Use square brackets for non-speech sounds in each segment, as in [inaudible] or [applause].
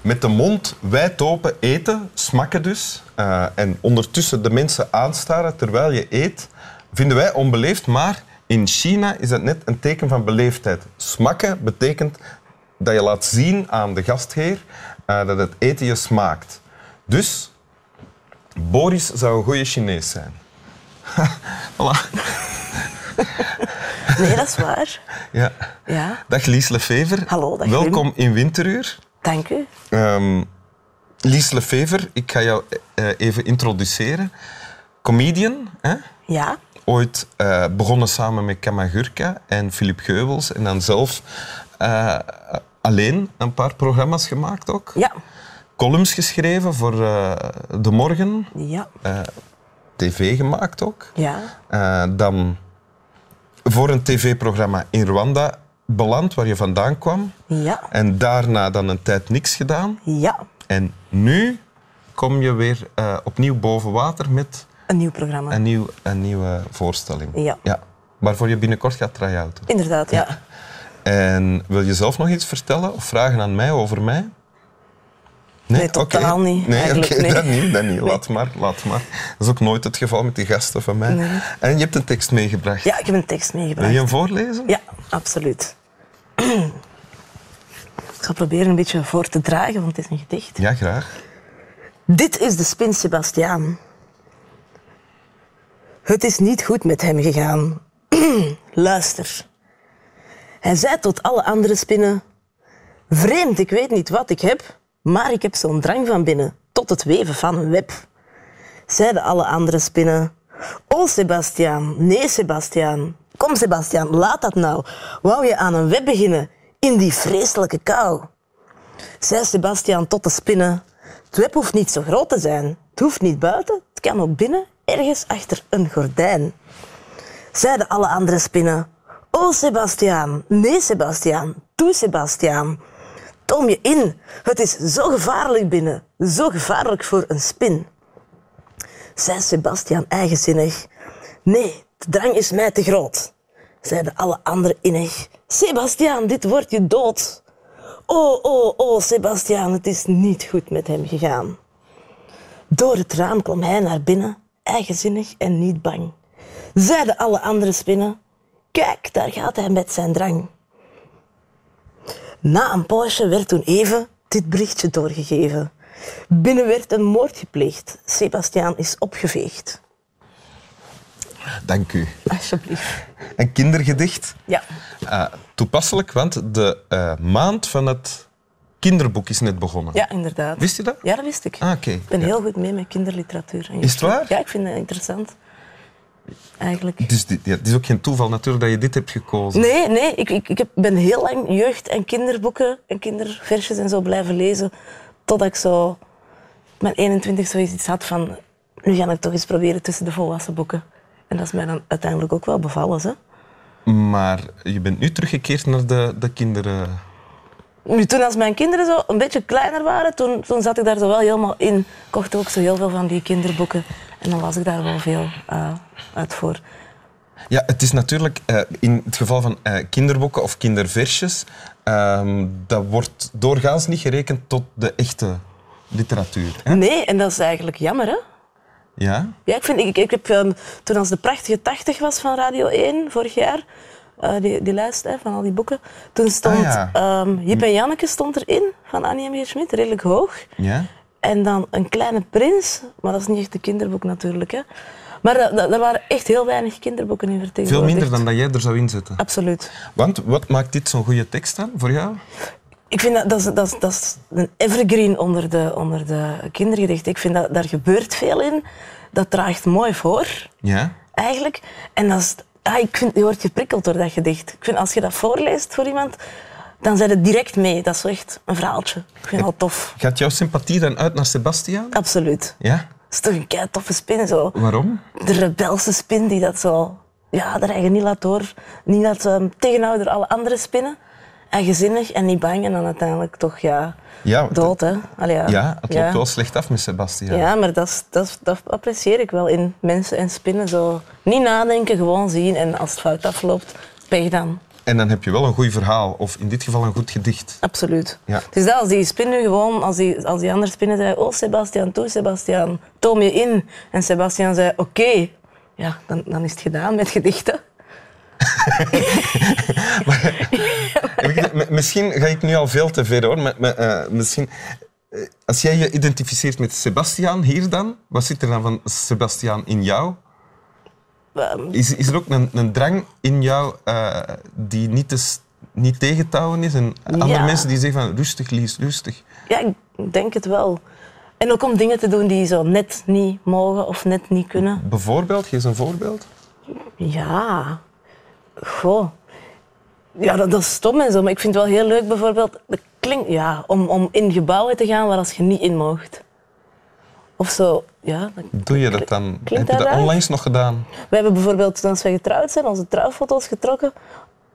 met de mond wijd open eten, smakken dus, eh, en ondertussen de mensen aanstaren terwijl je eet, vinden wij onbeleefd, maar in China is dat net een teken van beleefdheid. Smakken betekent dat je laat zien aan de gastheer eh, dat het eten je smaakt. Dus Boris zou een goede Chinees zijn. [laughs] voilà. Nee, dat is waar. Ja. Ja, Dag Lies Lefever. Hallo, dag Welkom in Winteruur. dank u. Ehm, Lies Lefever, ik ga jou eh, even introduceren. Comedian, hè? Ja, ooit eh, begonnen samen met Kamagurka en Philip Geubels en dan zelf eh, alleen een paar programma's gemaakt ook. ja, Columns geschreven voor eh, De Morgen, ja, tv gemaakt ook. ja. Eh, dan voor een tv-programma in Rwanda beland, waar je vandaan kwam. Ja, En daarna dan een tijd niks gedaan. ja. En nu kom je weer eh, opnieuw boven water met Een nieuw programma. een, nieuw, een nieuwe voorstelling. Ja. Waarvoor je binnenkort gaat try-outen. Inderdaad, ja. En wil je zelf nog iets vertellen of vragen aan mij over mij? Nee, totaal oké. niet, Nee, eigenlijk, oké, nee. dat niet. Dat niet. Laat, maar, laat maar. Dat is ook nooit het geval met die gasten van mij. En je hebt een tekst meegebracht. Ja, ik heb een tekst Wil je meegebracht. hem voorlezen? Ja, absoluut. [clears throat] Ik zal proberen een beetje voor te dragen, want het is een gedicht. Ja, graag. Dit is de spin Sebastiaan. Het is niet goed met hem gegaan. [clears throat] Luister. Hij zei tot alle andere spinnen: Vreemd, ik weet niet wat ik heb, maar ik heb zo'n drang van binnen tot het weven van een web. Zeiden alle andere spinnen: O Sebastiaan, nee Sebastiaan. Kom Sebastiaan, laat dat nou. Wou je aan een web beginnen in die vreselijke kou? zei Sebastiaan tot de spinnen. Het web hoeft niet zo groot te zijn. Het hoeft niet buiten. Het kan ook binnen, ergens achter een gordijn. Zeiden alle andere spinnen. O Sebastiaan, nee Sebastiaan, doe Sebastiaan. Toom je in. Het is zo gevaarlijk binnen. Zo gevaarlijk voor een spin. Zei Sebastiaan eigenzinnig. Nee, de drang is mij te groot. Zeiden alle anderen innig. Sebastiaan, dit wordt je dood. Oh, oh, oh, Sebastiaan, het is niet goed met hem gegaan. Door het raam kwam hij naar binnen, eigenzinnig en niet bang. Zeiden alle andere spinnen, kijk, daar gaat hij met zijn drang. Na een poosje werd toen even dit berichtje doorgegeven. Binnen werd een moord gepleegd. Sebastiaan is opgeveegd. Dank u. Alsjeblieft. Een kindergedicht. Ja, Ah, toepasselijk, want de eh, maand van het kinderboek is net begonnen. ja inderdaad. Wist je dat? Ja, dat wist ik. Ah, oké. Ik ben Ja. heel goed mee met kinderliteratuur. En Is het waar? Ja, ik vind het interessant. Eigenlijk. Dus dit, ja, het is ook geen toeval natuurlijk dat je dit hebt gekozen. Nee, nee ik, ik, ik heb- ben heel lang jeugd- en kinderboeken en kinderversjes en zo blijven lezen. Totdat ik zo op mijn 21 zoiets iets had van... Nu ga ik toch eens proberen tussen de volwassen boeken. En dat is mij dan uiteindelijk ook wel bevallen. Hè? Maar je bent nu teruggekeerd naar de, de kinderen. Nu, toen als mijn kinderen zo een beetje kleiner waren, toen, toen zat ik daar zo wel helemaal in. Kocht ook zo heel veel van die kinderboeken. En dan was ik daar wel veel eh, uit voor. Ja, het is natuurlijk eh, in het geval van eh, kinderboeken of kinderversjes, ehm, dat wordt doorgaans niet gerekend tot de echte literatuur. Hè? Nee, en dat is eigenlijk jammer, hè? Ja? Ja, ik, vind, ik, ik heb ehm, toen als de prachtige 80 was van Radio 1 vorig jaar, eh, die, die lijst hè, van al die boeken, toen stond Ah, ja. Hm. ehm, Jip en Janneke stond erin van Annie M. G. Schmid, redelijk hoog. Ja? En dan Een Kleine Prins, maar dat is niet echt een kinderboek natuurlijk. Hè. Maar da- da- er waren echt heel weinig kinderboeken in Veel vertegenwoordigd. minder dan dat jij er zou inzetten. Absoluut. Want wat maakt dit zo'n goede tekst dan voor jou? Ik vind dat, dat, is, dat, is, dat is een evergreen onder de, onder de kindergedichten. Ik vind dat daar gebeurt veel in. Dat draagt mooi voor. Ja? eigenlijk. En dat is, ah, ik vind, je wordt geprikkeld door dat gedicht. Ik vind, als je dat voorleest voor iemand, dan zijn het direct mee. Dat is zo echt een verhaaltje. Ik vind dat tof. Gaat jouw sympathie dan uit naar Sebastiaan? Absoluut. Ja? Dat is toch een kei toffe spin zo. Waarom? De rebelse spin die dat zo... Ja, daar eigen niet laat door. Niet laat ehm, tegenhouden door alle andere spinnen. Eigenzinnig en niet bang. En dan uiteindelijk toch, ja... Ja, want- dood, hè. Allee, ja. Ja, het loopt Ja. wel slecht af met Sebastiaan. Ja, maar dat, is- dat, is- dat apprecieer ik wel in mensen en spinnen. Zo. Niet nadenken, gewoon zien. En als het fout afloopt, pech dan. En dan heb je wel een goed verhaal, of in dit geval een goed gedicht. Absoluut. Ja. Dus dat als die spin nu gewoon, als die, als die andere spinnen zei, oh Sebastian, toe Sebastian, toom je in. En Sebastian zei, oké. Ja, dan, dan is het gedaan met gedichten. Heb ik- m- Misschien ga ik nu al veel te ver hoor. Maar, maar, eh, misschien, eh, als jij je identificeert met Sebastiaan hier dan, wat zit er dan van Sebastiaan in jou? Ehm, Is, is er ook een, een drang in jou eh, die niet, te, s- niet tegen te houden is? En andere Ja. mensen die zeggen van rustig Lies, rustig. Ja, ik denk het wel. En ook om dingen te doen die zo net niet mogen of net niet kunnen. Bijvoorbeeld, geef eens een voorbeeld. Ja. Goh. Ja, dat, dat is stom en zo, maar ik vind het wel heel leuk bijvoorbeeld... Dat klinkt, ja, om, om in gebouwen te gaan waar als je niet in mocht. Of zo, ja. dat- Doe je dat dan? Klinkt heb je dat dat raar? onlangs nog gedaan? We hebben bijvoorbeeld, toen we getrouwd zijn, onze trouwfoto's getrokken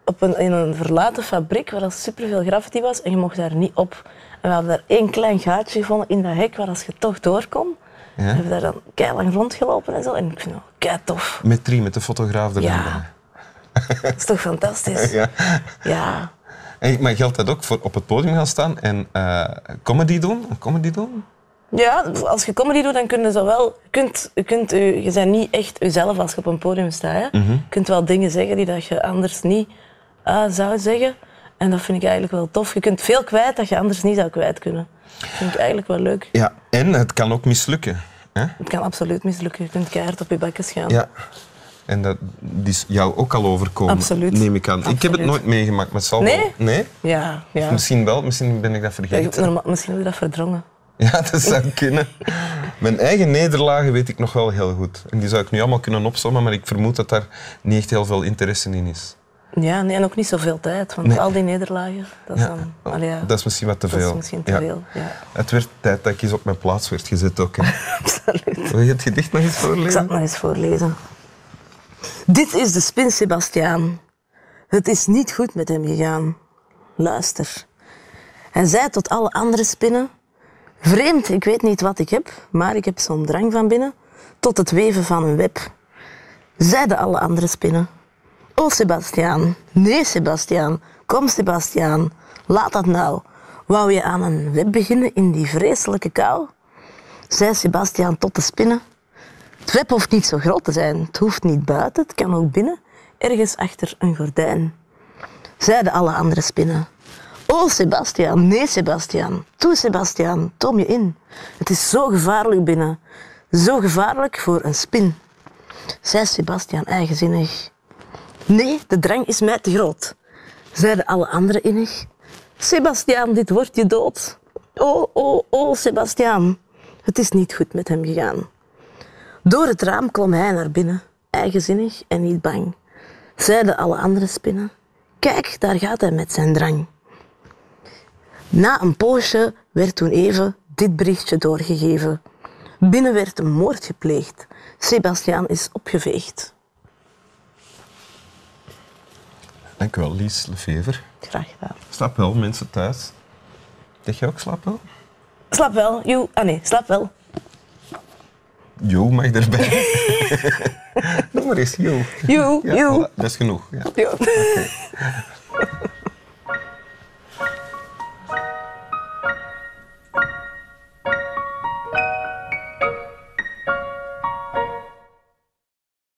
op een, in een verlaten fabriek waar dat superveel graffiti was en je mocht daar niet op. En we hadden daar één klein gaatje gevonden in dat hek waar als je toch door kon. We hebben daar dan keilang rondgelopen en zo. En ik vind dat kei tof. Met Trie, met de fotograaf erbij. Ja. Dat is toch fantastisch? Ja. Ja. En, maar geldt dat ook voor op het podium gaan staan en eh, comedy doen? Een comedy doen? Ja, als je comedy doet, dan kun je zowel... Je, kunt, je, kunt, je, je bent niet echt jezelf als je op een podium staat. Hè? Mhm. Je kunt wel dingen zeggen die dat je anders niet eh, zou zeggen. En dat vind ik eigenlijk wel tof. Je kunt veel kwijt dat je anders niet zou kwijt kunnen. Dat vind ik eigenlijk wel leuk. Ja, en het kan ook mislukken. Hè? Het kan absoluut mislukken. Je kunt keihard op je bakjes gaan. Ja. En dat die is jou ook al overkomen, Absoluut. neem ik aan. Ik heb het Absoluut. nooit meegemaakt, maar het zal wel... Nee? Nee? Ja, ja. Misschien wel, misschien ben ik dat Ja, vergeten. normaal- misschien heb je dat verdrongen. [laughs] Ja, dat zou kunnen. Mijn eigen nederlagen weet ik nog wel heel goed. En die zou ik nu allemaal kunnen opzommen, maar ik vermoed dat daar niet echt heel veel interesse in is. Ja, nee, en ook niet zoveel tijd. Want al die nederlagen, dat is, dan, allee, ja, Oh, Dat is misschien wat te dat veel. is misschien te Ja. veel. Ja, Het werd tijd dat ik eens op mijn plaats werd gezet ook. Hè. [laughs] absoluut. Wil je het gedicht nog eens Ik zal het voorlezen? nog eens voorlezen. Dit is de spin, Sebastiaan. Het is niet goed met hem gegaan. Luister. Hij zei tot alle andere spinnen... Vreemd, ik weet niet wat ik heb, maar ik heb zo'n drang van binnen... tot het weven van een web. Zeiden alle andere spinnen. O, Sebastiaan. Nee, Sebastiaan. Kom, Sebastiaan. Laat dat nou. Wou je aan een web beginnen in die vreselijke kou? Zei Sebastiaan tot de spinnen... Het web hoeft niet zo groot te zijn. Het hoeft niet buiten, het kan ook binnen, ergens achter een gordijn. Zeiden alle andere spinnen. O, Sebastiaan, nee, Sebastiaan. Toe, Sebastiaan, toom je in. Het is zo gevaarlijk binnen. Zo gevaarlijk voor een spin. Zei Sebastiaan eigenzinnig. Nee, de drang is mij te groot. Zeiden alle anderen innig. Sebastiaan, dit wordt je dood. O, o, o, Sebastiaan. Het is niet goed met hem gegaan. Door het raam klom hij naar binnen, eigenzinnig en niet bang. Zeiden alle andere spinnen: Kijk, daar gaat hij met zijn drang. Na een poosje werd toen even dit berichtje doorgegeven. Binnen werd een moord gepleegd. Sebastiaan is opgeveegd. Dank u wel, Lies Lefever. Graag gedaan. Slaap wel, mensen thuis. Zeg jij ook slaap wel? Slap wel, joe. Ah nee, slap wel. Jo mag [laughs] erbij. Noem maar eens Jo. Joe, Ja, joe. voilà, dat is genoeg. Ja. joe.